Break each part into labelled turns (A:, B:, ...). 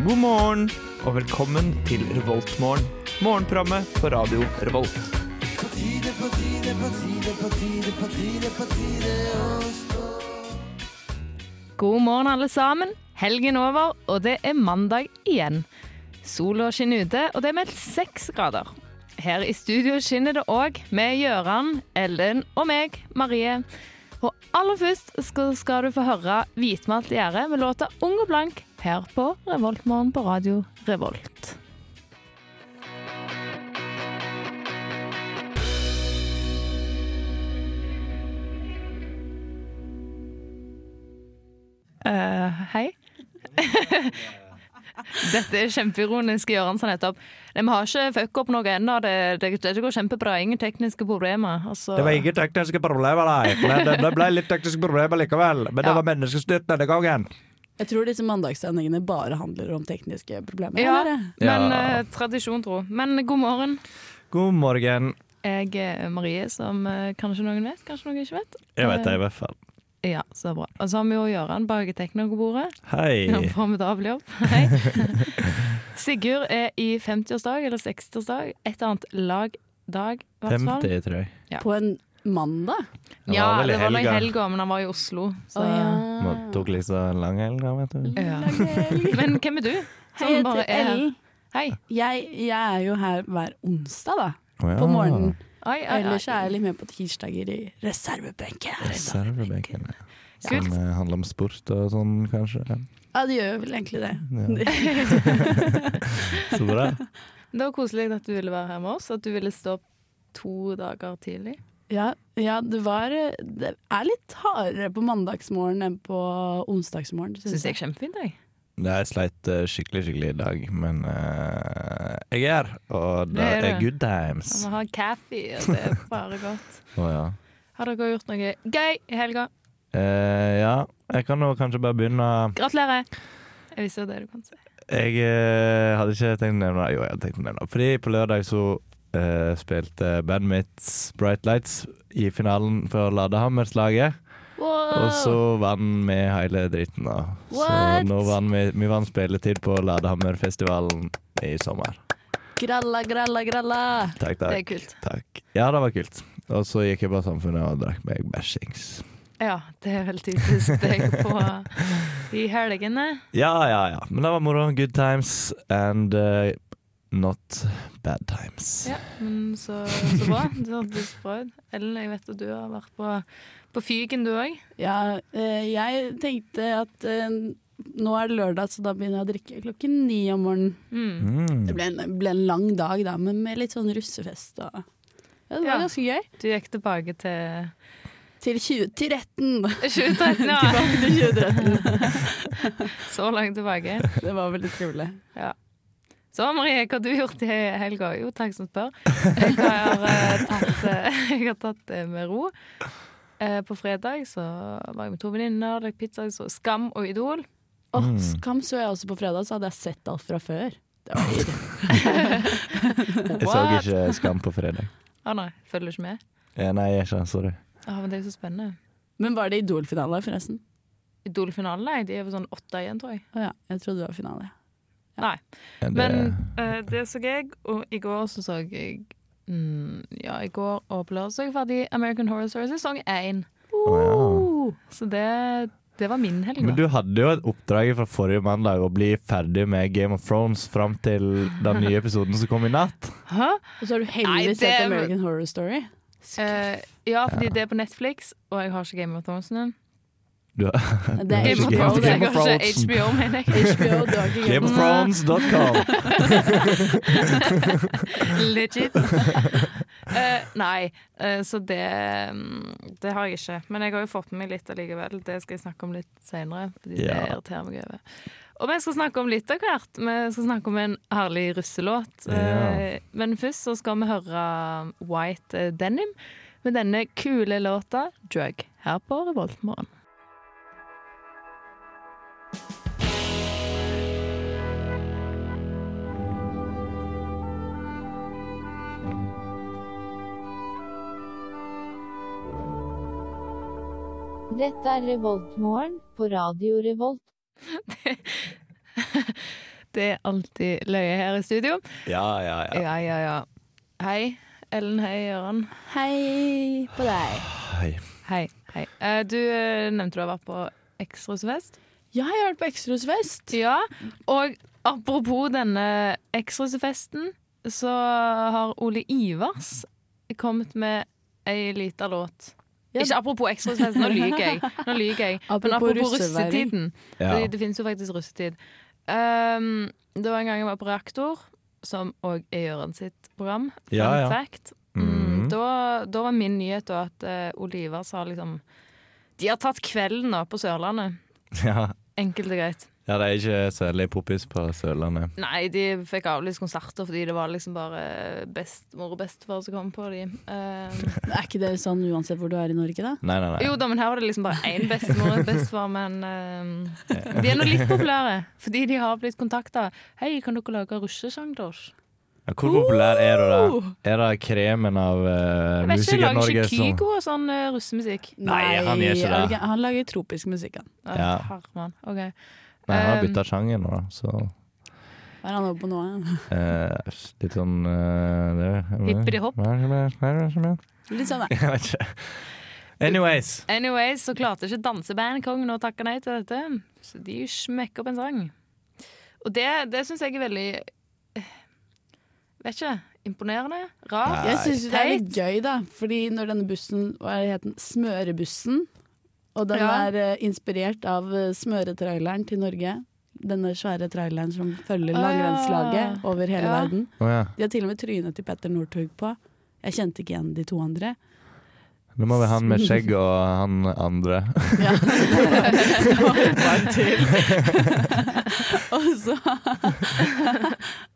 A: morgen, og velkommen til Revoltmorgen. Morgenprogrammet på radio Revolt.
B: God morgen, alle sammen. Helgen over, og det er mandag igjen. Sola skinner ute, og det er meldt seks grader. Her i studio skinner det òg, med Gøran, Ellen og meg, Marie. Og aller først skal, skal du få høre Hvitmalt gjerde med låta Ung og blank her på Revoltmorgen på radio Revolt. Eh, hei. Dette er kjempeironisk, Gøran sa nettopp. Nei, Vi har ikke fucka opp noe ennå. Det, det, det går kjempebra. Ingen tekniske problemer. Altså,
C: Det var ingen tekniske problemer, nei. Men det- det ble litt tekniske problemer likevel. Men det
B: Ja.
C: var menneskestyrt denne gangen.
D: Jeg tror disse mandagssendingene bare handler om tekniske problemer.
B: Ja,
D: eller?
B: men
A: Ja.
B: eh, tradisjon tro. Men god morgen.
C: God morgen.
B: Jeg er Marie, som eh, kanskje noen vet, kanskje noen ikke vet.
C: Jeg vet det i hvert fall.
B: Ja, så bra. Og så har vi jo Gøran bak teknikerbordet.
C: Hei.
B: Formidabel jobb. Hei. Sigurd er i 50-årsdag eller 60-årsdag. Et eller annet lagdag, i hvert fall.
C: 50, tror jeg.
D: På en mandag?
C: Det
B: Ja,
C: var vel i
B: det var da i
C: helga.
B: helga, men han var i Oslo. Så. Ah.
C: Må- Tok liksom lang helg, da, vet du.
B: Ja.
D: Lang helg.
B: Men hvem er du?
D: Hei,
B: Som
D: jeg
B: bare
D: heter
B: er her.
D: Ellen.
B: Hei.
D: Jeg, jeg er jo her hver onsdag, da.
C: Å ja.
D: På morgenen.
B: Oi, oi, oi.
D: Ellers er jeg litt med på tirsdager i reservebenken. altså.
C: Reservebenken. ja.
B: Kult.
C: Som eh, handler om sport og sånn, kanskje.
D: Ja, det gjør vel egentlig det.
C: Ja. Så bra.
B: Det var koselig at du ville være her med oss, at du ville stå opp to dager tidlig.
D: Ja, ja det var Det er litt hardere på mandagsmorgen enn på onsdagsmorgen,
B: Syns
D: syns
B: jeg
D: jeg.
B: er kjempefint, jeg.
C: Jeg sleit eh, skikkelig, skikkelig i dag, men eh, jeg er her, og det
B: Det er
C: er
B: du.
C: good times.
B: Vi har kaffe, og det er bare godt.
C: Å ja.
B: Har dere gjort noe gøy i helga?
C: Eh, ja, jeg kan jo kanskje bare begynne.
B: Gratulerer! Jeg visste jo det du kan si.
C: Jeg eh, hadde ikke tenkt å nevne det. Jo, jeg hadde tenkt å nevne det. Fordi på lørdag så eh, spilte bandet mitt Bright Lights i finalen for Ladehammerslaget. Og så vant vi hele dritten, da.
B: What?
C: Så nå vann vi, vi vant spilletid på Ladehammerfestivalen i sommer.
D: Gralla, gralla, gralla!
C: Takk, takk.
B: Det er kult.
C: Takk. Ja, det var kult. Og så gikk jeg på Samfunnet og drakk meg bæsjings.
B: Ja, det er vel typisk deg på de helgene.
C: Ja, ja, ja. Men det var moro. Good times and eh, not bad times.
B: Ja, men så, så bra. Det hørtes bra ut. Ellen, jeg vet at du har vært på, på Fygen, du òg.
D: Ja, eh, jeg tenkte at eh, nå er det lørdag, så da begynner jeg å drikke klokken ni om morgenen.
B: Mm.
C: Mm.
D: Det ble en, ble en lang dag, da, men med litt sånn russefest og Ja, det var
B: Ja.
D: ganske gøy.
B: Du gikk tilbake til
D: Til, 20, til retten!
B: 2013, ja.
D: Tilbake til 2013.
B: Så langt tilbake.
D: Det var veldig trivelig.
B: Så Marie, hva har du gjort i helga? Jo, takk som spør. Jeg har eh, tatt, eh, jeg har tatt det med ro. Eh, på fredag så var jeg med to venninner, drakk pizza, så Skam og Idol.
D: Å,
C: Mm.
D: Skam så jeg også på fredag, så hadde jeg sett alt fra før. Det var
C: Jeg så ikke Skam på fredag.
B: Å nei, følger du ikke med?
C: Eh, Nei, jeg er ikke sorry.
B: Å, men det er jo så spennende.
D: men var det Idol-finale, forresten?
B: Idol-finalen, nei, de er vel sånn åtte igjen, tror jeg.
D: Å ja, jeg trodde det var finale.
B: Nei.
C: Er det-
B: Men eh, det så jeg, og i går så så jeg mm, Ja, i går og på lørdag så jeg ferdig American Horror Story sesong 1.
C: Å,
B: Så det, det var min helg, da.
C: Men du hadde jo et oppdrag fra forrige mandag å bli ferdig med Game of Thrones fram til den nye episoden som kom i natt.
B: Hæ?
D: Og så har du
B: Nei, det
D: heldigvis sett
B: er-
D: American Horror Story.
B: Eh, ja, fordi det er på Netflix, og jeg har ikke Game of Thrones ennå.
C: Du,
D: Det er
B: Game
C: ikke
B: of
C: Game of
D: ikke
B: Thrones, jeg
D: Game
C: Thrones.
D: of
B: har ikke HBO, mener jeg.
D: HBO, du har ikke Game of
C: GameofThrones.com.
B: Legit. Eh, nei, eh, så det mm, Det har jeg ikke. Men jeg har jo fått med meg litt allikevel. Det skal jeg snakke om litt senere, fordi det
C: Ja.
B: irriterer meg over. Og vi skal snakke om litt av hvert. Vi skal snakke om en herlig russelåt.
C: Ja.
B: Eh, Men først så skal vi høre White Denim med denne kule låta 'Drug' her på Revoltmorgen.
E: Dette er Revoltmorgen på Radio Revolt.
B: Det er alltid løye her i studio.
C: Ja, ja, ja.
B: Ja, ja, ja. Hei, Ellen. Hei, Jøran.
D: Hei på deg.
C: Hei.
B: Hei. hei. Eh, Du eh, nevnte du har vært på Ekstrasfest.
D: Ja, jeg har vært på Ekstrosfest.
B: Ja, og apropos denne Ekstrasfesten, så har Ole Ivers kommet med ei lita låt.
D: Ja.
B: Ikke apropos Ekstrasfesten, nå lyver jeg. Nå lyver jeg. Men
D: Apropos
B: apropos
D: russeværing.
B: russetiden.
C: Ja.
B: Fordi det finnes jo faktisk russetid. Um, det var en gang jeg var på Reaktor, som òg er Gøran sitt program. Fun
C: Ja, ja.
B: fact.
C: Mhm.
B: Mm, da, da var min nyhet da at eh, Ole Ivers har liksom De har tatt kvelden da på Sørlandet.
C: ja.
B: Enkelt og greit.
C: Ja, det er ikke særlig poppis på Sørlandet.
B: Nei, de fikk avlyst konserter fordi det var liksom bare bestemor og bestefar som kom på de. Um,
D: Er ikke det sånn uansett hvor du er i Norge, da?
C: Nei, nei, nei.
B: jo da, men her var det liksom bare én bestemor og en bestefar, men um, de er nå litt populære. Fordi de har blitt kontakta. 'Hei, kan dere lage russesang til oss?'
C: Ja, Hvor populær er du
D: Oh,
C: da? Er det kremen av uh,
B: Jeg vet Uh. ikke, lager
C: Musiker-Norge
B: ikke
C: som
B: Kygo og sånn eh, russemusikk?
C: Nei, han gjør ikke
D: er
C: det.
D: Han lager tropisk musikk, han.
B: Uh,
C: Ja.
B: Herman, ok.
C: Nei, han har
B: Um,
C: bytta sjanger nå, da, så
D: Hva er han over på nå? han?
C: eh, Litt sånn eh, det-
B: Hippity-hopp.
C: Jeg
D: Litt sånn, da.
C: vet ikke. Anyways.
B: Anyways, så klarte ikke dansebandet-kongen å takke nei til dette, så de smekker opp en sang. Og det, det syns jeg er veldig eh, Vet ikke. Imponerende. Rart.
D: Jeg syns det er litt
B: Teit.
D: gøy, da. Fordi når denne bussen, hva er det het den, Smørebussen, og den
B: Ja.
D: er eh, inspirert av eh, smøretraileren til Norge. Denne svære traileren som følger
B: Å, ja.
D: langrennslaget over
B: Ah,
D: hele
B: Ja.
D: verden.
C: Å ja.
D: De har til og med trynet til Petter Northug på. Jeg kjente ikke igjen de to andre.
C: Nå må vi ha han med skjegg og han andre.
D: Ja. og så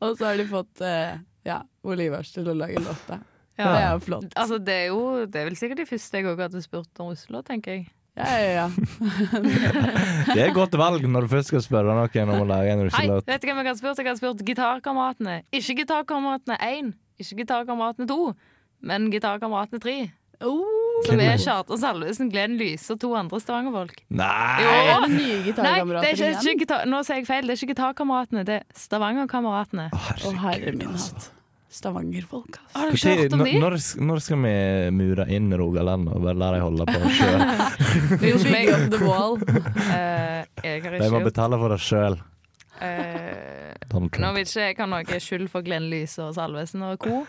D: Og så har de fått eh, ja, Olivers til å lage låta.
B: Ja.
D: Det er jo flott.
B: Altså, det er jo det er vel sikkert de første jeg òg hadde spurt om russelåt, tenker jeg.
D: Ja, ja, ja.
C: Det er et godt valg når du først skal spørre noen om å lage en
B: Nei,
C: russelåt.
B: vet du hvem jeg hadde spurt? Jeg hadde spurt Gitarkameratene. Ikke Gitarkameratene 1, ikke Gitarkameratene 2, men Gitarkameratene 3.
D: Oh,
B: Som
C: Hvem er
B: er
C: det?
B: Kjartan Salvesen, Glenn Lyse og to andre Stavanger-folk.
C: Nei!
B: Jo.
D: er det nye
B: Nei, det er
D: gitarkamerater
B: ikke, ikke,
D: igjen?
B: gitar- nå sier jeg feil. Det er ikke Gitarkameratene, det er Stavangerkameratene.
C: Å,
D: Å, herre
C: Herregud,
D: min
C: altså.
D: hatt. Stavangerfolk, altså.
B: Har du ikke
C: Når,
B: hørt om de?
C: når, når skal vi mure inn Rogaland og bare la dem holde på sjøl?
B: Vi hos meg.
D: Big up the wall.
B: Eh, jeg har
C: De
B: ikke
C: må
B: gjort
C: betale for det sjøl.
B: eh,
C: Donald
B: Nå
C: Trump.
B: vil ikke jeg ha noe skyld for Glenn Lyse og Salvesen og co.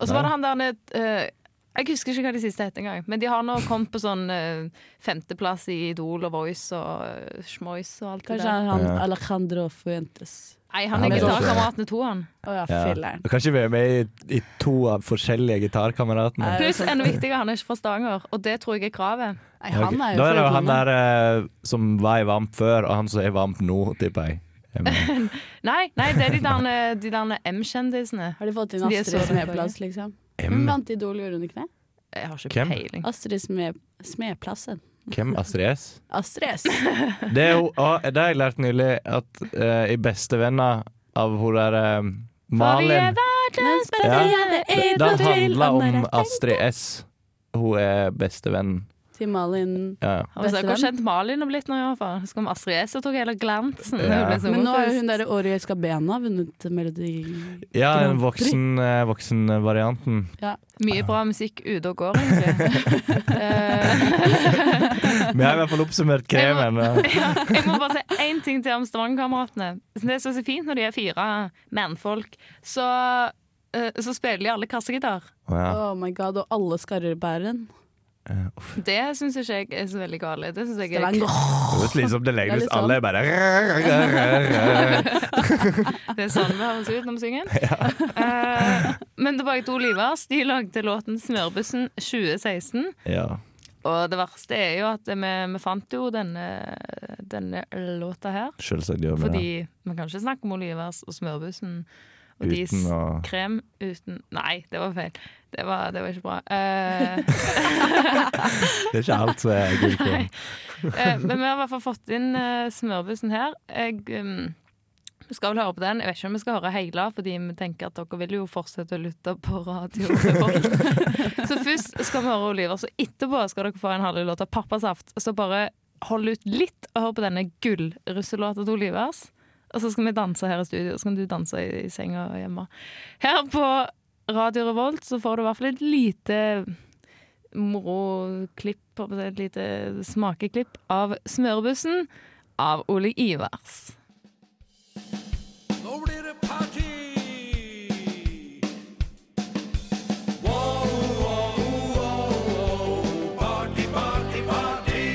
B: Og så var det han der nede eh, Jeg husker ikke hva de siste het engang, men de har nå kommet på sånn eh, femteplass i Idol og Voice og eh, Schmois og alt det
D: Kanskje
B: der.
D: er han
C: Ja.
D: Alejandro Fuentes.
B: Nei, han
C: Han
B: er
C: er også-
B: Gitarkameratene to, han.
D: Å ja,
C: Ja.
D: filler'n.
C: Kanskje vi er med i, i to av forskjellige gitarkameratene.
D: Nei,
B: Pluss enda viktigere, han er ikke fra Stavanger, og det tror jeg er kravet.
D: Nei, han er jo
C: da er det jo
D: fra
C: han
D: utlandet.
C: der eh, som var i Vamp før, og han som er i Vamp nå, tipper jeg. jeg. mener.
B: Nei, nei det er de der, eh, de der M-kjendisene.
D: Har de fått inn
B: De er så
D: Astrid
B: rare.
D: Smeplass, liksom? Hun
C: M,
D: vant Idol, gjorde hun ikke det?
B: Jeg har ikke
C: Hvem?
B: peiling.
D: Astrid Sme Smeplassen.
C: hvem Astrid S?
D: Astrid S.
C: Det, er jo, å, det har jeg lært nylig, at eh, i Bestevenner av hun der eh, Malin
D: Den
C: spesielle Den handla om
D: at
C: Astrid S. Hun er bestevenn.
D: Til Malin
C: Ja. ja.
B: Altså,
D: Bestevenn.
B: hvor kjent Malin har blitt nå, i hvert fall. Så kom Astrid S og tok hele glansen. Hun
C: Ja.
B: ble så
D: Men nå har jo
B: overbevist.
D: hun derre Året jeg skal bena vunnet Melodi
C: Ja, den
D: Grand Prix.
C: voksen, eh, voksenvarianten.
B: Mye bra musikk ute og går, egentlig. Eh,
C: Vi har i hvert fall oppsummert kremen. eh. ja.
B: ja, jeg må bare si én ting til om Stavanger-kameratene. Det er så fint når de er fire mannfolk, så, eh, så spiller de alle kassegitar.
C: Å, ja.
D: Oh my god, og alle skarrer bæren.
C: Eh, uff.
B: Det syns ikke jeg er så veldig gale. Det synes jeg er,
D: Stavanger.
C: Det høres litt som det
D: Det er
C: legges
D: litt
C: alle er bare
B: det er sånn det høres ut når vi synger. Eh, men tilbake til Olivers. De lagde låten 'Smørbussen' 2016.
C: Ja.
B: Og det verste er jo at vi, vi fant jo denne, denne låta her.
C: Selvsagt gjør vi det.
B: Fordi vi kan ikke snakke om Olivers og smørbussen og deres
C: Uten å
B: krem uten Nei, det var feil. Det var, det var ikke bra. Eh,
C: Det er ikke alt som er gull på.
B: Nei. eh, men vi har i hvert fall fått inn eh, smørbussen her. Jeg um, vi skal vel høre på den. Jeg vet ikke om vi skal høre hele, fordi vi tenker at dere vil jo fortsette å lytte på radio. så først skal vi høre Olivers, og etterpå skal dere få en halv låt av Pappasaft. Så bare hold ut litt og hør på denne gullrusselåta til Olivers. og så skal vi danse her i studio. Så kan du danse i, i senga hjemme. Her på Radio Revolt så får du i hvert fall et lite moroklipp, håper jeg, et lite smakeklipp av Smørebussen av Ole Ivers.
E: Nå blir det party! Wow, wow, wow, wow. Party, party, party!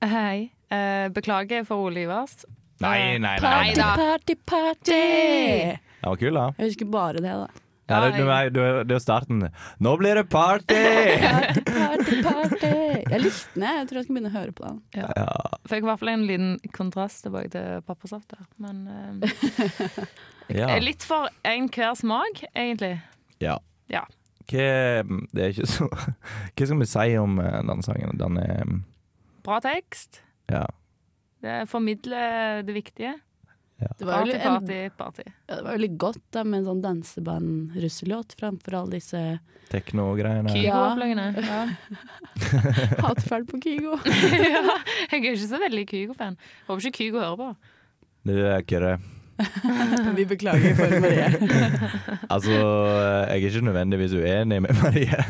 B: Hei. Eh, beklager for Ole Ivers.
C: Nei, nei, nei.
B: Nei
D: Party,
B: da.
D: party, party!
C: Det var kul, da.
D: Jeg husker bare det, da.
C: Ja, det,
B: Nei.
C: det, det, det er jo starten. Nå blir det party!
D: Party, party, party! Jeg likte den, jeg. Jeg tror jeg skal begynne å høre på den.
B: Fikk i hvert fall en liten kontrast tilbake til pappasaft der. Men eh,
C: Ja.
B: eh, litt for enhver smak, egentlig.
C: ja.
B: Ja.
C: Hva, det er ikke så, hva skal vi si om eh, denne sangen? Den er
B: Bra tekst.
C: ja.
B: Det formidler det viktige.
D: Det var
B: Party,
D: jo litt- en
B: party, party.
D: Ja, det var veldig godt da, med en sånn danseband-russelåt framfor alle disse
C: tekno-greiene.
D: Key.
B: Kygo-oppleggene. Ja.
D: hatferd på Kygo.
B: Jeg er ikke så veldig Kygo-fan. Håper ikke Kygo hører på.
C: Du er ikke det.
D: Vi beklager for Marie.
C: Altså, eh, jeg er ikke nødvendigvis uenig med Marie.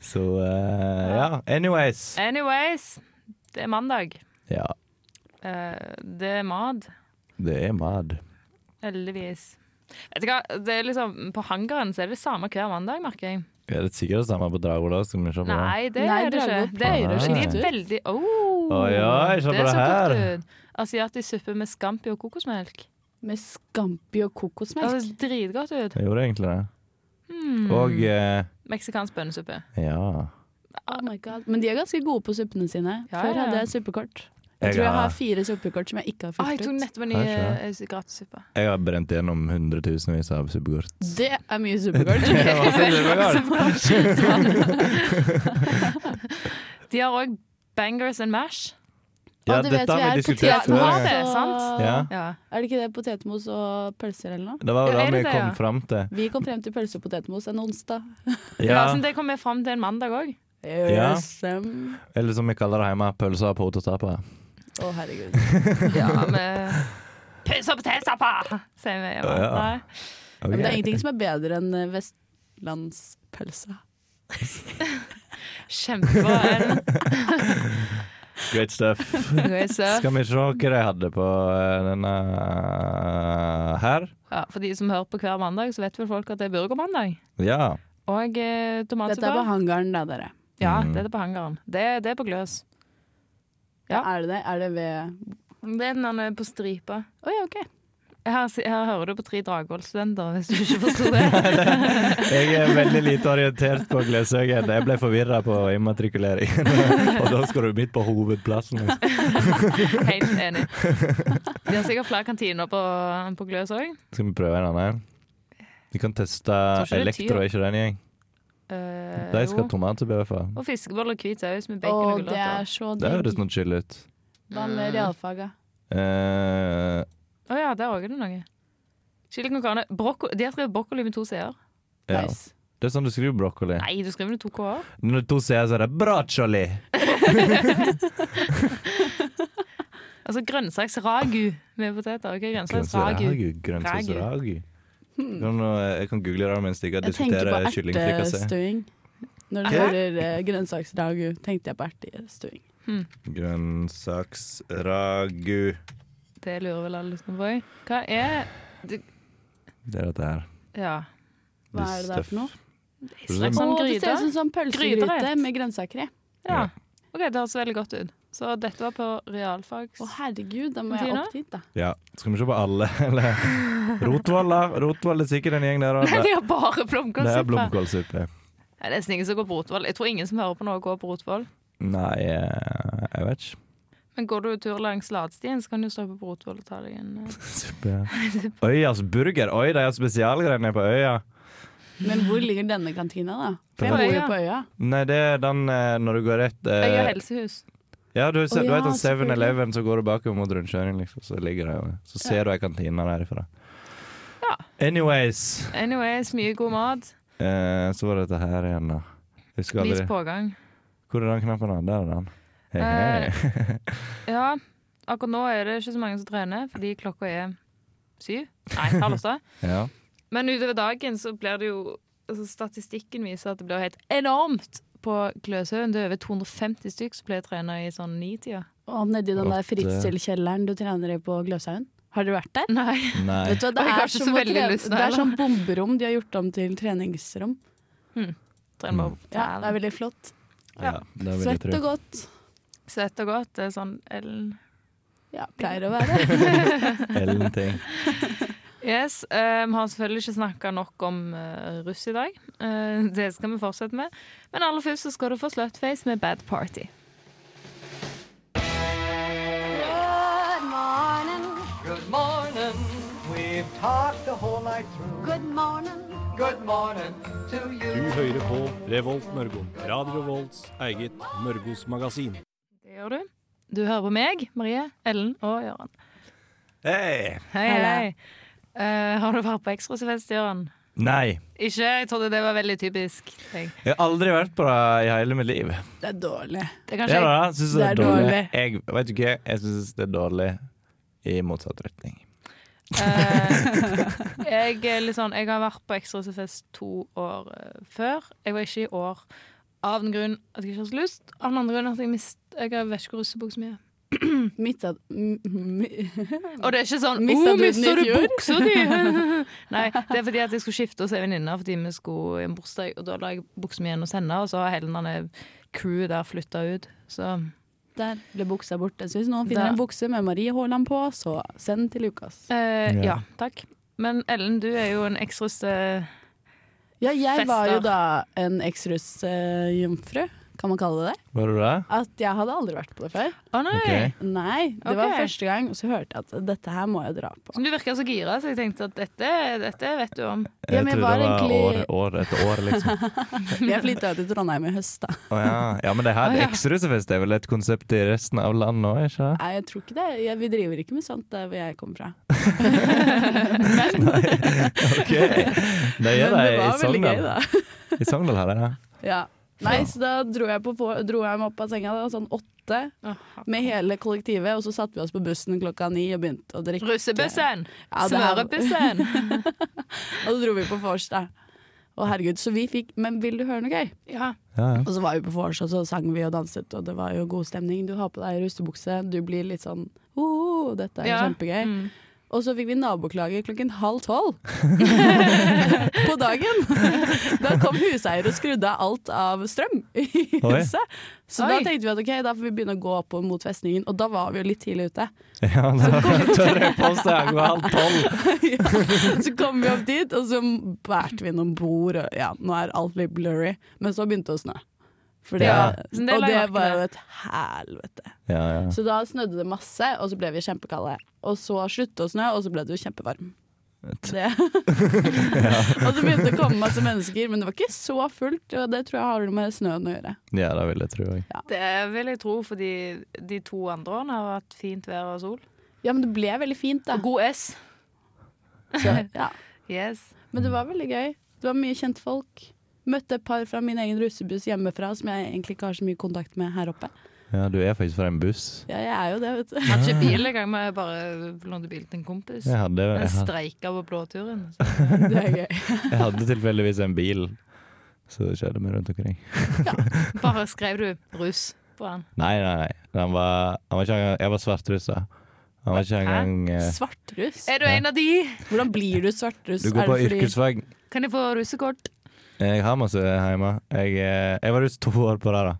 C: Så eh, ja. Anyways.
B: Eh. Anyways, det er mandag.
C: Ja,
B: Eh, det er mat.
C: det er mad.
B: Heldigvis. Vet du hva, det er liksom, På hangaren så er det det samme hver mandag, merker jeg.
C: Er det sikkert det samme på Dragvoll òg? Skal vi se på det?
B: Nei, det
D: Nei,
B: er det
D: Dragvoll
B: ikke. Det
C: pleier å
B: de
C: skifte
B: er
D: ut.
B: veldig Åh,
C: Oi, oi, se på det
B: så
C: her.
B: godt ut. Asiatisk suppe med scampi og kokosmelk.
D: Med scampi og
B: Det
D: kokosmelk.
B: ser dritgodt ut.
C: Jeg gjorde egentlig det. Og eh,
B: Meksikansk bønnesuppe.
C: ja.
D: Oh my God. Men de er ganske gode på suppene sine.
B: Ja,
D: Før
B: ja, ja.
D: hadde jeg suppekort. Jeg
C: Jeg
D: tror jeg
C: har-
D: har fire suppekort som jeg ikke har
B: Å, jeg
D: fylt
B: tok
D: ut.
B: nettopp en ny
C: Her ser
B: eh, gratissuppe.
C: Jeg har brent gjennom hundretusenvis av superkort.
D: Det er mye suppekort.
B: De har òg bangers and mash.
C: Ja,
D: Og det vet
C: dette
D: vi
C: har
D: er
C: vi diskutert
B: potetmos.
C: før.
B: Ja, det er sant.
C: Ja.
B: Ja.
D: Er det ikke det potetmos og pølser eller noe?
C: Det var jo
B: Ja, er
C: det
B: det
C: vi
B: det,
C: kom
B: ja?
C: fram til.
D: Vi kom frem til pølse og potetmos en onsdag.
B: Ja. sånn, det kom vi fram til en mandag òg.
C: Ja.
D: Yes, um.
C: Eller som vi kaller det hjemme, pølser og potetappa.
D: Å, herregud.
B: Ja, med pølse og potetstappa, sier vi. hjemme.
C: Ja.
B: Nei.
C: Ok.
D: Men det er ingenting som er bedre enn eh, vestlandspølse.
B: Kjempebra. Ellen.
C: Great stuff.
B: Great stuff.
C: Skal vi se hva de hadde på eh, denne eh, her?
B: Ja, for de som hører på hver mandag, så vet vel folk at det er burgermandag.
C: Ja.
B: Og eh,
D: Dette er på
B: tomatsuppe.
D: hangaren, da, dere.
B: Ja, det er på hangaren. Det, det er på gløs. Ja.
D: Er det det? Er det ved
B: Det er den der på stripa.
D: Å ja, OK.
B: Her, si- her hører du på tre Dragvoll-studenter, hvis du ikke forsto det.
C: Jeg er veldig lite orientert på Glesøyen. Jeg ble forvirra på immatrikuleringen. Og da skal du midt på hovedplassen. liksom.
B: Helt enig. De har sikkert flere kantiner på, på gløs òg.
C: Skal vi prøve en annen? Vi kan teste
B: ikke det Eh, er
C: Elektro, er ikke den gjeng? De skal ha tomatsuppe i hvert fall.
B: og fiskeboller og hvit saus med
D: Å,
B: bacon og
D: det er
B: gulrøtter.
D: så
C: Det
D: digg.
C: høres noe chill ut.
D: Hva med realfaga?
C: Eh,
B: Å ja, der òg er det noe. Chili con carne. Brokko de har skrevet brokkoli med to c-er.
C: ja.
D: Nice.
C: Det er sånn du skriver brokkoli.
B: Nei, du skriver med to k-er.
C: Når to sier så er det 'braccioli'.
B: Altså grønnsaksragu med poteter. Ok, grønnsaksragu.
C: Grønnsaksragu. Grønnsaksragu. Jeg kan, jeg kan google det mens dere
D: Hmm. Jeg tenker
C: diskuterer
D: på
C: kyllingfrikassé.
D: ertestøing. Når du
B: Hæ?
D: hører eh, grønnsaksragu, tenkte jeg på ertestøing.
C: Grønnsaksragu.
B: Det lurer vel alle lytterne på. Hva er
C: Det er dette her.
B: Ja.
D: Hva er det der for noe?
B: En slags
D: Å,
B: sånn
D: det ser
B: gryte?
D: ut som sånn pølsegryte
B: Gryterett.
D: med grønnsaker i.
B: Ja. OK, det høres veldig godt ut. Så dette var på realfags...
D: Å herregud, da må jeg
B: Tina?
D: opp dit, da.
C: Ja. Skal vi se på alle, eller? Rotvoll, da. Rotvoll er sikkert en gjeng der òg.
B: Nei, de har bare
C: Det er
B: blomkålsuppe.
C: blomkålsuppe.
B: Det er nesten ingen som går på Rotvoll. Jeg tror ingen som hører på noe, går på Rotvoll.
C: Nei, eh, jeg vet ikke.
B: Men går du tur langs Ladstien, så kan du stoppe på Rotvoll og ta deg en eh,
C: Suppe. Øyas burger. Oi, de har spesialgreiene på øya.
D: Men hvor ligger denne kantina, da? For
B: På
D: jeg bor jo
B: øya.
D: på øya.
C: Nei, det er den eh, når du går rett eh,
B: Øya helsehus.
C: Ja, du, ser,
D: Å
C: du
D: ja,
C: vet den
D: selvfølgelig.
C: 7-Eleven, så går du bakover mot rundkjøringen, liksom. Så ligger det jo Så ser du ei kantine derifra.
B: Ja.
C: Anyways,
B: Anyways, mye god mat.
C: eh, så var det dette her igjen, da. Jeg Husker
B: Vis
C: aldri.
B: pågang.
C: Hvor er den knappen? da? Der er den. Hei,
B: Eh,
C: hei.
B: Ja, akkurat nå er det ikke så mange som trener, fordi klokka er syv. Nei, halv åtte.
C: Ja.
B: Men utover dagen så blir det jo altså Statistikken viser at det blir helt enormt på Gløshaugen. Det er over 250 stykk som ble trena i sånn ni-tida.
D: Og nedi den der
C: Åtte.
D: fritzelkjelleren du trener i på Gløshaugen. Har dere vært der?
B: Nei.
C: Nei.
D: Vet du, hva, det,
B: Og jeg har
D: er
B: ikke
D: som
B: så
D: å
B: veldig
D: trene-
B: lyst nå,
D: det er
B: heller.
D: sånn bomberom de har gjort om til treningsrom.
B: Trener bare opp.
D: Ja, Det er veldig flott.
C: Ja, det vil jeg
D: Svett
C: tro.
D: og godt.
B: Søtt og godt. Det er sånn Ellen
D: Ja, pleier å være.
C: Ellen ting.
B: Yes, eh, Vi har selvfølgelig ikke snakka nok om eh, russ i dag. Eh, det skal vi fortsette med. Men aller først så skal du få Slutface med Bad Party.
F: Good morning.
G: Good morning. We've talked the whole night through.
F: Good morning.
G: Good morning to
H: Du
G: you.
H: hører på Revolt Mørgo. Radio Revolts eget Mørgos magasin.
B: Det gjør du. Du hører på meg, Marie, Ellen og Gøran.
C: Hei!
B: Hei, hei. Eh, har du vært på ekstrasfest, Gøran?
C: Nei.
B: Ikke? Jeg trodde det var veldig typisk. Jeg.
C: Jeg har aldri vært på det i hele mitt liv.
D: Det er dårlig.
B: Det er kanskje
C: Jeg
B: jeg.
C: da, synes det er
D: Det er
C: dårlig.
D: dårlig.
C: Jeg vet ikke, jeg syns det er dårlig i motsatt retning.
B: Eh, jeg, er litt sånn, jeg har vært på ekstrasfest to år eh, før. Jeg var ikke i år av den grunn at jeg ikke har så lyst. Av den andre grunn at jeg, mist, jeg har- vet ikke hvor russebuksa mi er.
D: Mitt av, m- m-
B: Og det er ikke sånn
D: Mistet
B: 'Å,
D: du den i
B: mista du
D: fjor?»
B: buksa di?' Nei, det er fordi at jeg skulle skifte hos ei venninne fordi vi skulle i en bursdag, og da la jeg buksa mi igjen hos henne, og så har hele denne crewet der flytta ut. Så
D: der ble buksa borte. Så hvis noen finner
B: Der.
D: en bukse med Marie Haaland på, så send til Lukas.
B: eh,
C: Ja.
B: ja. takk. Men Ellen, du er jo en ekstrus eh,
D: Ja, jeg
B: Fester.
D: var jo da en eksrussjomfru, kan man kalle det det.
C: Var du det?
D: At jeg hadde aldri vært på det før.
B: Å nei!
C: Ok.
D: Nei, det var
B: Ok.
D: første gang, og så hørte jeg at eh, dette her må jeg dra på.
B: Så du virka så gira, så jeg tenkte at dette, dette vet du om.
D: Ja, men jeg
C: trodde
D: var
C: det var
D: egentlig-
C: år, år etter år, liksom.
D: Jeg flytta jo til Trondheim i høst, da.
C: Å ja. ja, men det her
B: Å ja.
C: ekstrusefest er vel et konsept i resten av landet òg, ikke sant?
D: Nei, jeg tror ikke det. Jeg, vi driver ikke med sånt der hvor jeg kommer fra.
C: Ok. Det gjør
D: Men
C: de
D: det
C: i sånn,
D: var veldig gøy,
C: Sogndal.
D: da.
C: I Sogndal har de det.
D: Ja. Nei, så da dro jeg, på, på- dro jeg meg opp av senga da, sånn åtte med hele kollektivet, og så satte vi oss på bussen klokka ni og begynte å drikke.
B: Russebussen!
D: eh, Ja, det her-
B: Smørebussen!
D: Og så dro vi på vors, da. Å herregud, så vi fikk Men vil du høre noe gøy?
B: Ja.
C: Ja, ja.
D: Og så var vi på vors, og så sang vi og danset, og det var jo god stemning. Du har på deg russebukse, du blir litt sånn oh, dette er
B: ja.
D: kjempegøy.
B: Mm.
D: Og så fikk vi naboklage klokken halv tolv på dagen. Da kom huseier og skrudde av alt av strøm i
C: Oi.
D: huset. Så da
B: Oi.
D: tenkte vi at ok, da får vi begynne å gå opp mot festningen. Og da var vi jo litt tidlig ute.
C: ja da tør jeg påstå jeg går halv tolv.
D: Så kom vi opp dit, og så bærte vi noen bord. Og ja, nå er alt litt blurry. Men så begynte det å snø. For det,
C: Ja.
B: Så det la
D: Og det
B: jeg merke
D: var
B: til.
D: jo et helvete.
C: Ja, ja.
D: Så da snødde det masse, og så ble vi kjempekalde. Og så sluttet det å snø, og så ble det jo kjempevarm. Det. og det begynte å komme masse mennesker, men det var ikke så fullt. Og det tror jeg har noe med snøen å gjøre.
C: ja, det vil jeg tro òg.
B: Det vil jeg tro, fordi de to andre årene har hatt fint vær og sol.
D: Ja, men det ble veldig fint, da.
B: Og god S.
D: Så, ja.
B: Yes.
D: Men det var veldig gøy. Det var mye kjentfolk. Møtte et par fra min egen russebuss hjemmefra som jeg egentlig ikke har så mye kontakt med her oppe.
C: Ja, du er faktisk fra en buss.
D: Ja, jeg er jo det, vet du.
B: Jeg hadde ikke bil engang, men jeg bare lånte bil til en kompis.
C: Jeg hadde,
B: Den
C: jeg hadde,
B: streika på blåturen.
D: Det er gøy.
C: jeg hadde tilfeldigvis en bil, så kjørte vi rundt omkring.
B: så Bare skrev du 'russ' på den.
C: Nei, nei, nei. Han var, han var ikke engang Jeg var svartruss, da. Han var ikke engang eh,
D: Svartruss?
B: Er du en av de?
D: Hvordan blir du svartruss?
C: Du går
D: Er
C: på
D: det fordi-
C: yrkesfag.
B: Kan jeg få russekort?
C: Jeg har masse hjemme. Jeg, eh, jeg var russ to år på rad, da.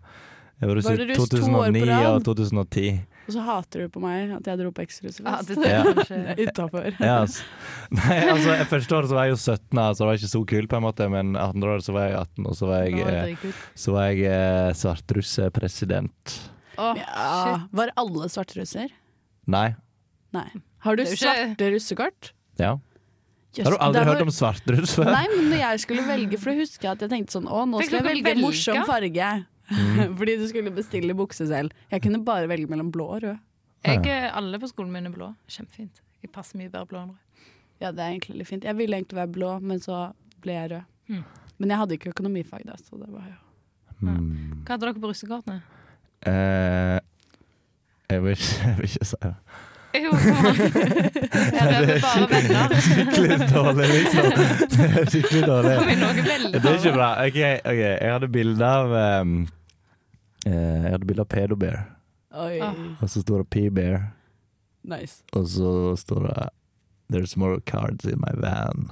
C: Jeg var russ
D: Var
C: i
D: du russ to år på
C: 2009 og
D: rad?
C: 2010.
D: Og så hater du på meg at jeg dro på liksom.
B: Ja,
D: eksrussefest.
B: det det
C: Ja.
B: er kanskje.
D: Utafor.
C: Ja, altså. Nei, altså, jeg første året så var jeg jo 17, da, så det var ikke så kult, på en måte. Men andre året så var jeg 18, og så var
B: Nå
C: jeg,
B: er det
C: eh,
B: dritkult.
C: så var jeg eh, svartrusspresident.
B: Åh,
D: Ja, var alle svartrusser?
C: Nei.
D: Nei. Har du
B: Det er jo ikke-
D: svarte russekort?
C: Ja.
D: Jøss,
C: Har du aldri
D: det er
C: hørt
D: noe-
C: om svartruss før?
D: Nei, men når jeg skulle velge, for da husker jeg at jeg tenkte sånn Å, nå
B: Fikk
D: skal jeg
B: dere
D: velge,
B: velge?
D: morsom farge. Fordi du skulle bestille bukse selv. Jeg kunne bare velge mellom blå og rød.
B: Jeg, eh, alle på skolen min er blå. Kjempefint. Jeg passer mye bedre blå enn rød.
D: Ja, det er egentlig litt fint. Jeg
B: Mm.
D: ville egentlig være blå, men så ble jeg rød. Men jeg hadde ikke økonomifag da, så det var jo
C: Mm.
B: Hva hadde dere på russekortene?
C: Eh, jeg, vil ikke, jeg vil ikke si det.
B: Jo, kom an. Jeg røper bare venner.
C: Skikkelig dårlig, liksom. Det er skikkelig dårlig.
B: Kom i noe veldig
C: Det er ikke bra. Ok, ok. Jeg hadde bilde av um, eh, Jeg hadde bilde av pedobear,
D: Oi,
B: Ah.
C: og så står det p-bear,
D: nice.
C: og så står det There's more cards in my van.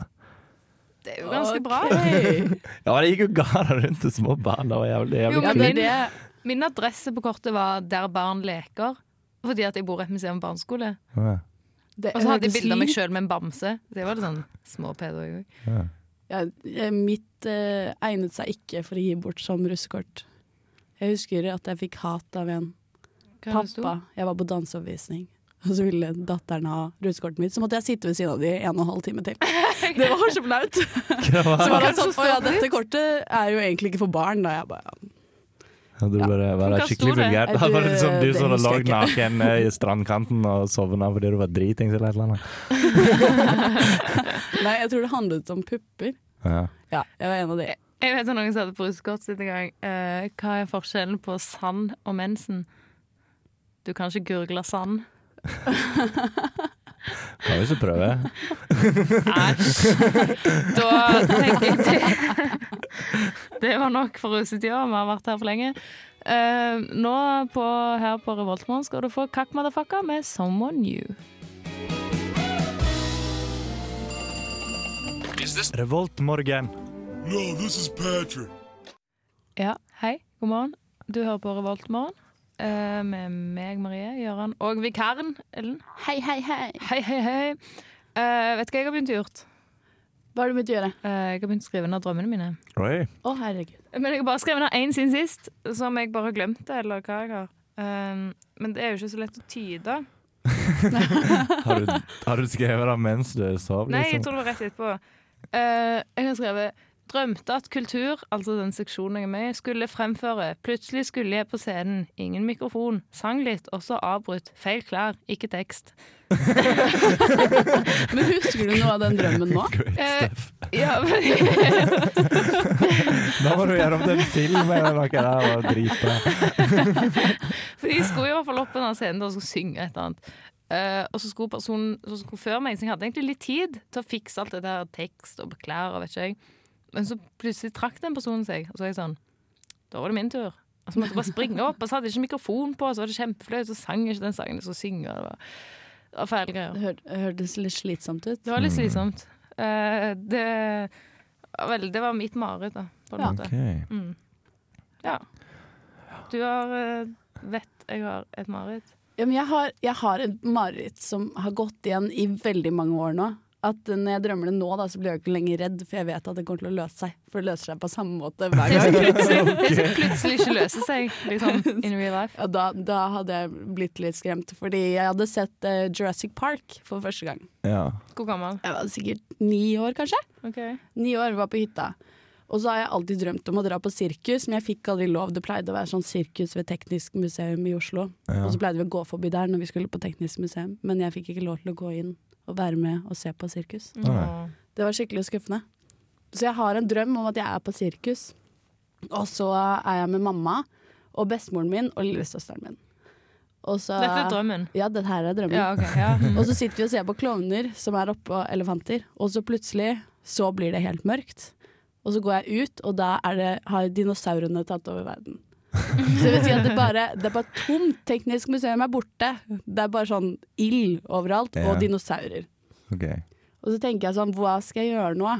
B: Det er jo ganske bra.
D: Ok.
C: Ja, men Jeg gikk jo gala rundt til små barn. Det var jævlig,
B: Jo,
C: jævlig
D: Ja,
B: men
D: det
C: kult.
D: er det.
B: Min adresse på kortet var 'Der barn leker', fordi at jeg bor rett ved siden av en barneskole.
C: Ja.
D: det
B: Og så hadde jeg
D: høres
B: bilde av meg
D: litt-
B: sjøl med en bamse. Det var litt sånn små pedo i òg.
D: Ja, eh, mitt eh, egnet seg ikke for å gi bort som russekort. Jeg husker at jeg fikk hat av en pappa. Jeg var på danseoppvisning. Og så ville datteren ha russekortet mitt, så måtte jeg sitte ved siden av de en og en halv time til. Det var så flaut. Så var han sånn Å ja, dette kortet er jo egentlig ikke for barn, da. Jeg bare
C: Ja, Du bare var
B: Hva
C: det skikkelig
B: sto det?
C: vulgært. Det
D: Nei,
C: var
D: du,
C: litt som du
D: det
C: som hadde
D: husker jeg
C: ligget naken eh, i strandkanten og sovna fordi du var dritings eller et eller annet.
D: Nei, jeg tror det handlet om pupper.
C: Ja.
D: Ja, jeg var en av de.
B: Jeg vet om noen som hadde på russekort sitt en gang. eh, hva er forskjellen på sand og mensen? Du kan ikke gurgle sand.
C: Kan vi ikke prøve?
B: Æsj. Da tenker jeg det Det var nok for russetida, vi har vært her for lenge. Eh, nå på, her på Revoltmorgen skal du få Kakk Motherfucker med Someone New.
C: Revoltmorgen.
B: Ja, hei, god morgen. Du hører på Revoltmorgen eh, med meg, Marie, Gøran og vikaren Ellen.
D: Hei, hei, hei.
B: Hei, hei, hei. Eh, vet du hva jeg har begynt å gjøre?
D: Hva har du begynt å gjøre?
B: Eh, jeg har begynt å skrive ned drømmene mine.
C: Oi.
D: Å, herregud.
B: Men jeg har bare skrevet ned én siden sist, som jeg bare glemte, eller hva jeg har. Um, men det er jo ikke så lett å tyde.
C: Har du, har du skrevet det mens du sov?
B: Nei, jeg
C: Liksom?
B: tror det var rett etterpå. Eh, jeg har skrevet Drømte at kultur, altså den seksjonen jeg er med i, skulle fremføre. Plutselig skulle jeg på scenen. Ingen mikrofon. Sang litt, og så avbrutt. Feil klær, ikke tekst.
D: Men husker du noe av den drømmen nå?
C: Great
B: Eh,
C: stuff.
B: Ja, men,
C: Da må du gjøre om til en film eller noe. Det var dritbra.
B: for de skulle i hvert fall opp på den scenen da, og skulle synge et eller annet. Eh, og så skulle personen som skulle før meg, så jeg hadde egentlig litt tid til å fikse alt det der tekst og klær og vet ikke jeg. Men så plutselig trakk den personen seg, og så var jeg sånn Da var det min tur. Og så måtte jeg bare springe opp, og så hadde jeg ikke mikrofon på, og så var det kjempeflaut, så sang jeg ikke den sangen jeg skulle synge. og Det var, det var feil greier.
D: Det hør- hørtes litt slitsomt ut.
B: Det var litt slitsomt. Eh, det, ja, vel, det var mitt mareritt, da, på en
D: Ja.
B: måte. Ja. Du har eh, Vet jeg har et mareritt.
D: Ja, men jeg har, jeg har et mareritt som har gått igjen i veldig mange år nå. At eh, Når jeg drømmer det nå, da, så blir jeg ikke lenger redd, for jeg vet at det kommer til å løse seg. For det løser seg på samme måte hver
B: Det som
D: gang.
B: plutselig, det som plutselig ikke løser seg, liksom, in real life.
D: Ja, da, da hadde jeg blitt litt skremt, fordi jeg hadde sett eh, Jurassic Park for første gang.
C: Ja.
B: Hvor gammel?
D: Jeg var sikkert ni år, kanskje.
B: Ok.
D: Ni år var på hytta. Og så har jeg alltid drømt om å dra på sirkus, men jeg fikk aldri lov. Det pleide å være sånn sirkus ved Teknisk museum i Oslo. Og så pleide vi å gå forbi der når vi skulle på Teknisk museum, men jeg fikk ikke lov til å gå inn og være med og se på sirkus.
B: Mm. Åh.
D: Det var skikkelig skuffende. Så jeg har en drøm om at jeg er på sirkus, og så er jeg med mamma og bestemoren min og lillesøsteren min. Og så,
B: Dette er drømmen.
D: Ja, dette her er drømmen.
B: Ja, ok. Ja.
D: Og så sitter vi og ser på klovner som er oppå elefanter, og så plutselig så blir det helt mørkt. Og så går jeg ut, og da er det, har dinosaurene tatt over verden. Så det vil si at det bare, det er bare tomt. Teknisk museum er borte. Det er bare sånn ild overalt,
C: Ja.
D: og dinosaurer.
C: OK.
D: Og så tenker jeg sånn, hva skal jeg gjøre nå?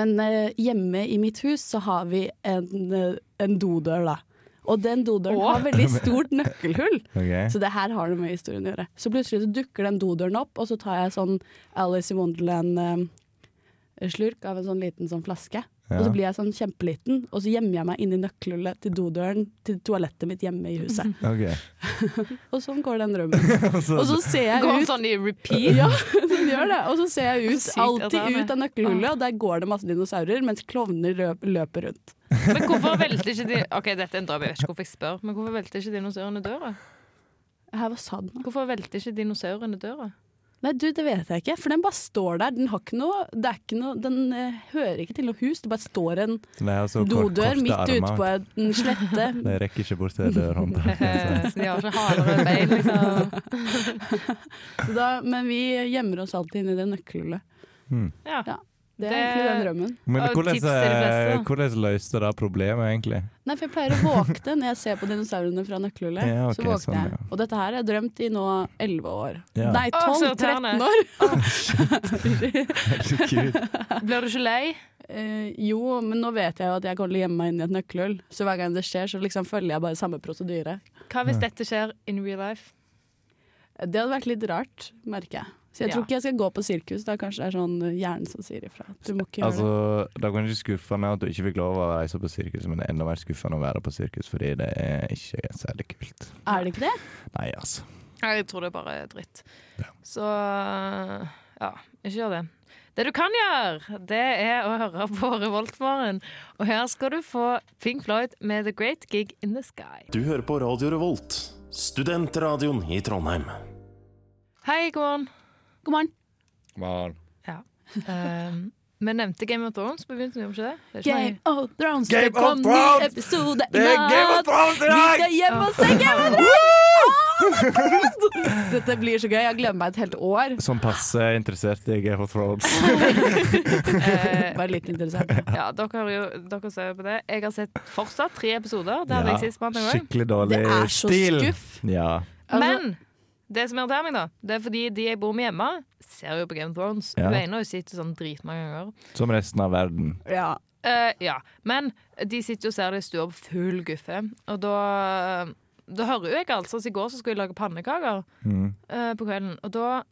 D: Men eh, hjemme i mitt hus så har vi en, eh, en dodør, da. Og den dodøren har veldig stort nøkkelhull.
C: ok.
D: Så det her har noe med historien å gjøre. Så plutselig så dukker den dodøren opp, og så tar jeg sånn Alice in Wonderland-slurk av en sånn liten sånn flaske. Og så
C: Ja.
D: blir jeg sånn kjempeliten, og så gjemmer jeg meg inni nøkkelhullet til dodøren til toalettet mitt hjemme i huset.
C: ok.
D: Og sånn går den drømmen. Og så ser jeg
B: Går
D: ut
B: sånn i repeat.
D: ja, den gjør det. Og så ser jeg ut,
B: Sykt at det er Ah.
D: alltid
B: det.
D: ut av nøkkelhullet, og der går det masse dinosaurer, mens klovner løp- løper rundt.
B: Men hvorfor velter ikke de Ok, dette er en drøm, jeg vet ikke hvorfor jeg spør, men hvorfor velter ikke dinosaurene døra?
D: Her, hva sa du nå?
B: Hvorfor velter ikke dinosaurene døra?
D: Nei, du, det vet jeg ikke, for den bare står der. Den har ikke noe, det er ikke noe Den eh, hører ikke til noe hus. Det bare står en
C: De har så kort,
D: dodør
C: korte
D: midt ute på
C: armer.
D: en slette.
C: De rekker ikke bort til dørhåndtaket.
B: Så de har ikke haler og bein, liksom.
D: Så da, men vi gjemmer oss alltid inni det nøkkelhullet.
B: Ja.
D: Ja. Det er
B: Det-
D: egentlig den drømmen.
C: Men
B: Og
C: hvordan, eh,
B: tips til de fleste, da.
C: hvordan løste det problemet, egentlig?
D: Nei, for jeg pleier å våkne når jeg ser på dinosaurene fra nøkkelhullet.
C: Ja, ok,
D: så våkner
C: sånn,
D: jeg.
C: ja.
D: Og dette her har jeg drømt i nå 11 år.
C: Ja.
D: Nei,
B: Å, så
D: 12-13
B: irriterende.
D: år!
C: Herregud.
B: Blir du ikke lei?
D: Eh, jo, men nå vet jeg jo at jeg kommer til å gjemme meg inni et nøkkelhull. Så hver gang det skjer, så liksom følger jeg bare samme prosedyre.
B: Hva hvis dette skjer in real life?
D: Det hadde vært litt rart, merker jeg. Så jeg
B: Ja.
D: tror ikke jeg skal gå på sirkus. Da kanskje det er sånn eh, hjernen som sier ifra. Du må ikke gjøre
C: Altså, det er ikke skuffende at du ikke fikk lov å reise på sirkus, men det er enda mer skuffende å være på sirkus fordi det er ikke særlig kult.
D: det. Er det ikke det?
C: Nei, altså.
B: Nei, jeg tror det er bare dritt. Så ja, ikke gjør det. Det du kan gjøre, det er å høre på Revoltmorgen. Og her skal du få Pink Floyd med The Great Gig in the Sky.
I: Du hører på Radio Revolt, studentradioen i Trondheim.
B: Hei, god morgen.
D: God morgen.
B: Ehm, Vi nevnte Game of Thrones på begynnelsen, gjorde vi ikke det? det? er ikke
D: Game
B: meg.
D: of Thrones,
C: Game
D: det kom
C: of
D: ny
C: Thrones!
D: episode i
C: Det er Game of
D: natt!
C: Thrones i
D: Vi
C: dag!
D: skal hjemme og se Game of Thrones! Dette blir så gøy. Jeg gleder meg et helt år.
C: Som passe interessert i Game of Thrones.
B: Eh,
D: Bare litt interessant.
B: ja, dere, har jo, dere ser jo på det. Jeg har sett fortsatt tre episoder. Det hadde
C: Ja,
B: jeg sist mandag òg.
C: Skikkelig dårlig
D: Det er så
C: stil.
D: skuff.
C: Ja.
D: Altså-
B: Men det som irriterer meg, da, det er fordi de jeg bor med hjemme, ser jo på Game of Thrones.
C: Ja.
B: Hun ene har jo sett det sånn dritmange ganger.
C: Som resten av verden.
D: Ja.
B: Eh, ja. Men de sitter jo og ser det i stua på full guffe. Og da, da hører jo jeg alt. Sånn som i går så skulle jeg lage pannekaker eh, på kvelden. Og da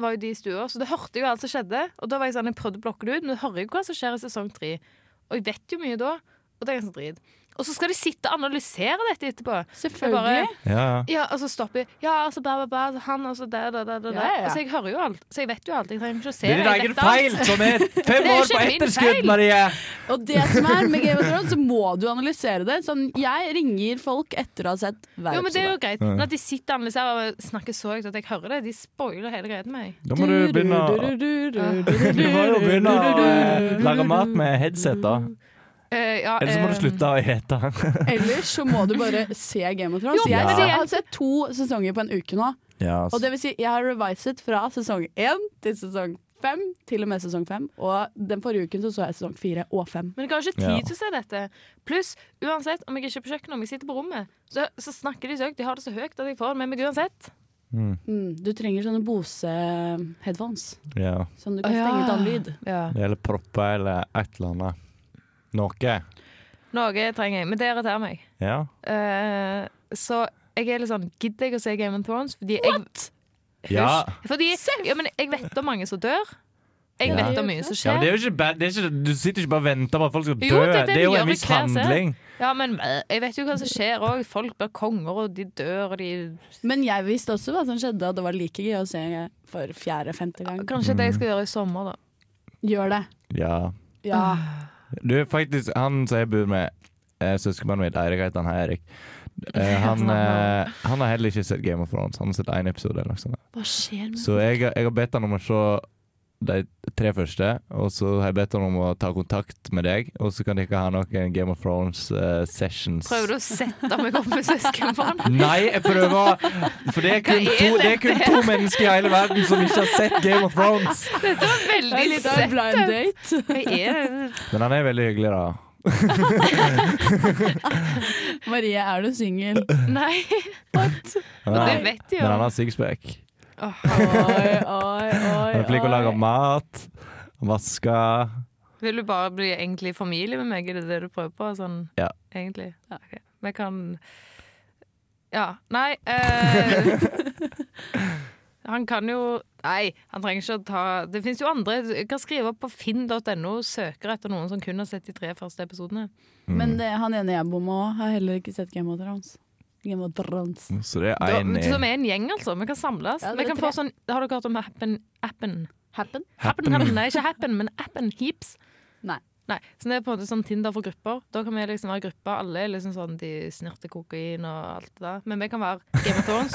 B: var jo de i stua, så da hørte jeg jo alt som skjedde. Og da var jeg sånn, jeg prøvde å blokke det ut, men du hører jo hva som skjer i sesong tre. Og jeg vet jo mye da, og det er ganske drit. Og så skal de sitte og analysere dette etterpå. Jeg bare-
D: Selvfølgelig.
C: Ja,
B: Ja, og så stopper jeg. Ja, altså, bæ, bæ, bæ, han, altså, det, det, det, det.
D: Ja, ja.
B: Så jeg hører jo alt. Så jeg vet jo alt. Jeg trenger ikke å se
C: Det er
B: Jeg
C: din egen
B: vet alt.
C: feil som er fem
B: Det er
C: år
B: ikke
C: på
B: min
C: etterskudd,
B: feil.
C: Marie!
D: Og det som er med Game of Thrones, så må du analysere det. Sånn, jeg ringer folk etter å ha sett hver
B: Jo, men det er jo
D: episode.
B: greit. Men at de sitter og analyserer og snakker så høyt at jeg hører det, de spoiler hele greia til meg.
C: Da må du begynne å Du må jo begynne å eh, lage mat med headset, da. Ellers må du slutte å ete.
D: Ellers så må du bare se Game of Thrones.
B: Jo,
D: jeg,
C: men
D: ser-
B: det-
D: jeg har sett to sesonger på en uke nå.
C: Ja,
D: Og det vil si, jeg har reviset fra sesong én til sesong fem, til og med sesong fem. Og den forrige uken så, så jeg sesong fire og fem.
B: Men jeg har ikke tid
C: Ja.
B: til å se dette. Pluss, uansett om jeg ikke er på kjøkkenet, om jeg sitter på rommet, så, så snakker de så høyt. De har det så høyt at jeg får det med meg uansett.
D: Mm, du trenger sånne Bose-headphones,
C: ja.
D: sånn du kan stenge ut all lyd.
C: Det gjelder propper eller et eller annet. Noe.
B: Noe trenger jeg, men det irriterer meg.
C: Ja.
B: Eh, så jeg er litt sånn Gidder jeg å se Game of Thrones? Fordi jeg,
C: Ja.
B: Fordi, ja, men jeg vet om mange som dør. Jeg
C: Ja.
B: vet om mye som
C: ja, men
B: skjer.
C: det er jo ikke, bad- det er ikke Du sitter ikke bare og venter på at folk skal dø.
B: Jo, det er det
C: det
B: vi
C: er jo
B: gjør
C: en
B: i hver serie.
C: mishandling.
B: Ja, men eh, jeg vet jo hva som skjer òg. Folk blir konger, og de dør, og de
D: Men jeg visste også hva som skjedde, og det var like gøy å se for fjerde-femte gang.
B: Kanskje det jeg skal gjøre i sommer, da.
D: Gjør det. Mm.
C: Ja.
D: Ja.
C: Du, faktisk, han som jeg bor med eh, Søskenbarnet mitt, Eirik heter han, hei Eirik Eh, han, eh, han har heller ikke sett Game of Thrones Han har sett en episode eller noe sånt
B: Hva skjer med
C: Så jeg, jeg har bedt han om å se De tre første Og så har jeg bedt han om å ta kontakt med deg Og så kan dere ha noen Game of Thrones eh, sessions
B: Prøver du å sette meg opp med søskenbarn?
C: Nei, jeg prøver å- For det er kun,
B: Hva er
C: to, det er kun to mennesker i hele verden Som ikke har sett Game of Thrones
B: Dette var
D: Det er
B: veldig
D: litt av en
B: søtt.
D: blind date.
B: Hva er det?
C: Men han er veldig hyggelig da
D: Marie, er du singel?
B: Nei,
C: Han
B: og det
C: er-
B: vet de
C: Men
B: jo.
C: han har sixpack
D: Oi, oi, oi.
C: Han er flink å lage mat Vaske
B: Vil du bare bli egentlig familie med meg? Er det det du prøver på? Sånn,
C: Ja.
B: Egentlig? Ok. Vi kan Ja. Nei eh, Han kan jo Nei, han trenger ikke å ta Det fins jo andre. Du kan skrive opp på finn.no, søker etter noen som kun har sett de tre første episodene.
D: Men det, han ene jeg bor med òg, har heller ikke sett Game of Thrones. Game of Thrones.
C: Så det er
B: Da,
C: en
B: som er en gjeng, altså. Vi kan samles.
D: Ja, det
B: Vi
D: er
B: kan
D: tre.
B: få sånn Har dere hørt om Happen? Appen?
D: Happen?
B: Happen, happen. Nei, ikke Happen, men Appen. Heaps.
D: Nei.
B: Nei, så det er på en måte sånn Tinder for grupper. Da kan vi liksom være grupper. Alle er liksom sånn de snirter kokain og alt det der. Men vi kan være Game of Thrones.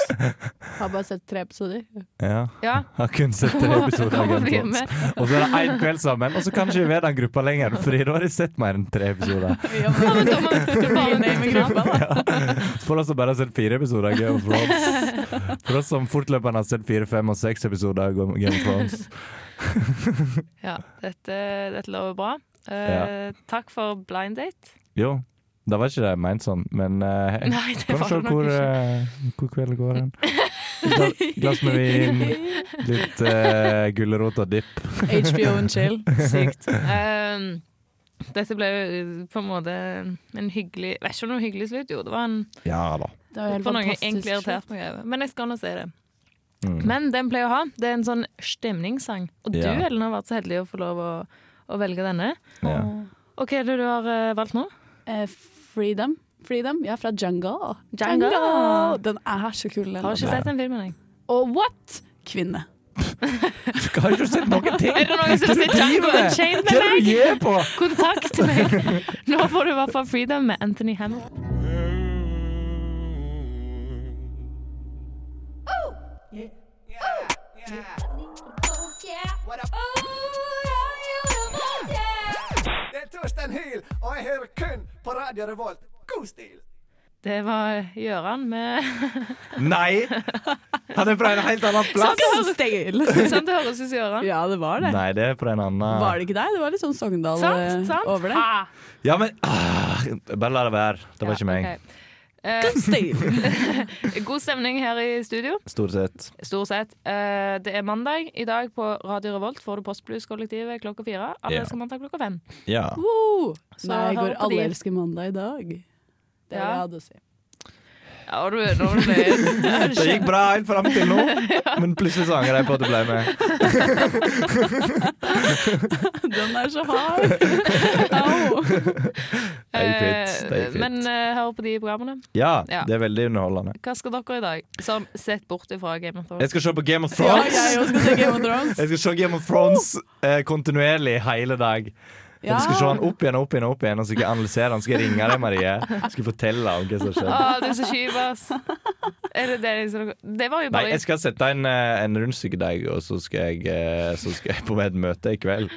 D: Har bare sett tre episoder.
C: Ja.
B: Ja.
C: Har kun sett tre episoder av
B: Kom og bli
C: Game of
B: med.
C: Thrones. Og så er det én kveld sammen, og så kan ikke vi være den gruppa lenger, Fordi da har de sett mer enn tre episoder.
D: Ja, men
B: Ja, men da må vi bare
D: name i gruppa, da.
C: For oss som bare har sett fire episoder av Game of Thrones. For oss som fortløpende har sett fire, fem og seks episoder av Game of Thrones.
B: Ja, dette, dette lover bra. Eh, Takk for blind date.
C: Jo, da var ikke det ment sånn, men eh, jeg
B: Nei, det
C: kan
B: var
C: se
B: det nok
C: hvor,
B: ikke.
C: eh, hvor kvelden går hen. Gla- Glass med vin, litt eh, gulrot og dipp.
D: HBO and chill.
B: Sykt. Ehm, dette ble jo eh, på en måte en hyggelig Vet ikke om det var en hyggelig slutt, jo. Det var en
C: Ja da.
D: Det var helt
B: For noe jeg
D: fantastisk.
B: egentlig irritert meg over. Men jeg skal nå si det.
C: Mm.
B: Men den pleier å ha. Det er en sånn stemningssang. Og
C: Ja.
B: du, Ellen, har vært så heldig å få lov å, å velge denne.
C: Ja.
B: Og hva er det du har eh, valgt nå?
D: Eh, freedom. Freedom. Ja, fra Jungle.
B: Django.
D: Den er så kul. den
B: Har ikke
D: låten.
B: sett den filmen, jeg.
D: Og what? Kvinne.
C: Har ikke du sett noen ting?
B: Er det noen som har sett Django Unchained med meg?
C: gir på?
B: Kontakt meg! Nå får du i hvert fall Freedom med Anthony Hamilton.
F: Oh yeah. Oh yeah, yeah.
G: Det er Torstein Hyl, og jeg hører kun på Radio Revolt. God stil!
B: Det var Gøran med
C: Nei! Han er fra en helt annen plass.
B: Sånn det høres ut som Gøran.
D: Ja, det var det.
C: Nei, det er fra en annen
D: Var det ikke deg? Det var litt sånn Sogndal eh,
B: Sant? sant?
D: over det.
B: Ah,
C: Ja, men ah, Bare la det være. Det var ikke meg.
B: ok. Eh,
D: Stale.
B: god stemning her i studio.
C: Stort sett.
B: Stort sett. Eh, det er mandag. I dag på Radio Revolt får du Postblues-kollektivet klokka fire. Alle
C: Ja.
B: skal mandag klokka fem.
C: Ja.
D: Woo!
B: Så
D: Nei,
B: hør
D: går
B: på
D: alle
B: de.
D: elsker mandag i dag. Det var
B: Ja.
D: det jeg hadde å si.
B: Ja, og du er dårlig.
C: Det gikk bra helt fram til nå, men plutselig så angrer jeg på at du ble med.
D: Den er så hard! Au.
C: Det gikk fint. Det
B: Eh,
C: gikk fint.
B: Men eh, hør på de programmene.
C: Ja,
B: Ja.
C: det er veldig underholdende.
B: Hva skal dere i dag? Som sett bort ifra Game of Thrones.
C: Jeg skal se på Game of
D: Ja,
C: Thrones!
D: jeg også skal se Game of Thrones.
C: Jeg skal se Game of Thrones eh, kontinuerlig hele dag.
D: Ja.
C: Jeg skal se han opp igjen og opp igjen, og opp igjen og så skal jeg analysere han. Så skal jeg ringe deg, Marie. Så Skal jeg fortelle om hva som
B: Å,
C: skjedde.
B: du Ah, er så skyv, ass. Er det det som dere Det var jo
C: Nei,
B: bare
C: jeg skal sette en, eh, en rundstykke deg, og så skal jeg, eh, så skal jeg på et møte i kveld.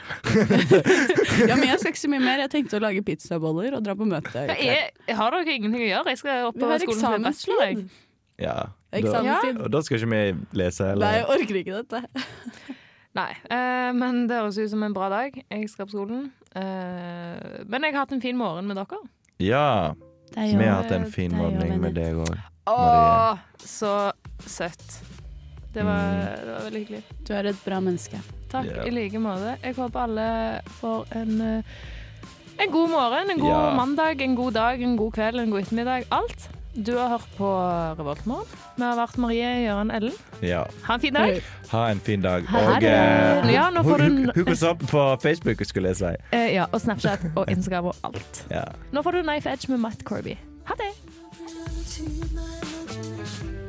D: Ja, men jeg skal ikke så mye mer. Jeg tenkte å lage pizzaboller og dra på møte.
B: Hva er- Har dere ingenting å gjøre? Jeg skal
D: Vi
B: oppover
D: har
B: skolen for bachelor. Jeg.
D: eksamenstid.
C: Ja. Da,
D: Eksamenstid.
C: og da skal ikke vi lese
D: Nei,
C: heller.
D: jeg orker ikke dette.
B: Nei, eh, men det høres ut som en bra dag. Jeg skal på skolen. Eh, men jeg har hatt en fin morgen med dere.
C: Ja. Vi har hatt en fin
D: deg og
C: morgen med deg
D: Bennett.
C: òg.
B: Å, så søtt. Det var,
C: Mm.
B: det var veldig hyggelig.
D: Du er et bra menneske.
B: Takk
C: Ja.
B: i like måte. Jeg håper alle får en eh, en god morgen, en god
C: Ja.
B: mandag, en god dag, en god kveld, en god ettermiddag. Alt. Du har hørt på Revoltmorgen. Vi har vært Marie Gjøran Ellen.
C: Ja.
B: Ha en fin dag.
C: Ha en fin dag.
D: Ha
C: Og
D: det.
C: eh,
B: Ja, nå får du en-
C: hook- hook oss opp på Facebook, skulle jeg si.
B: Eh, ja, og Snapchat og Instagram og alt.
C: Ja.
B: Nå får du Knife Edge med Matt Corby. Ha det.
F: To my imagination.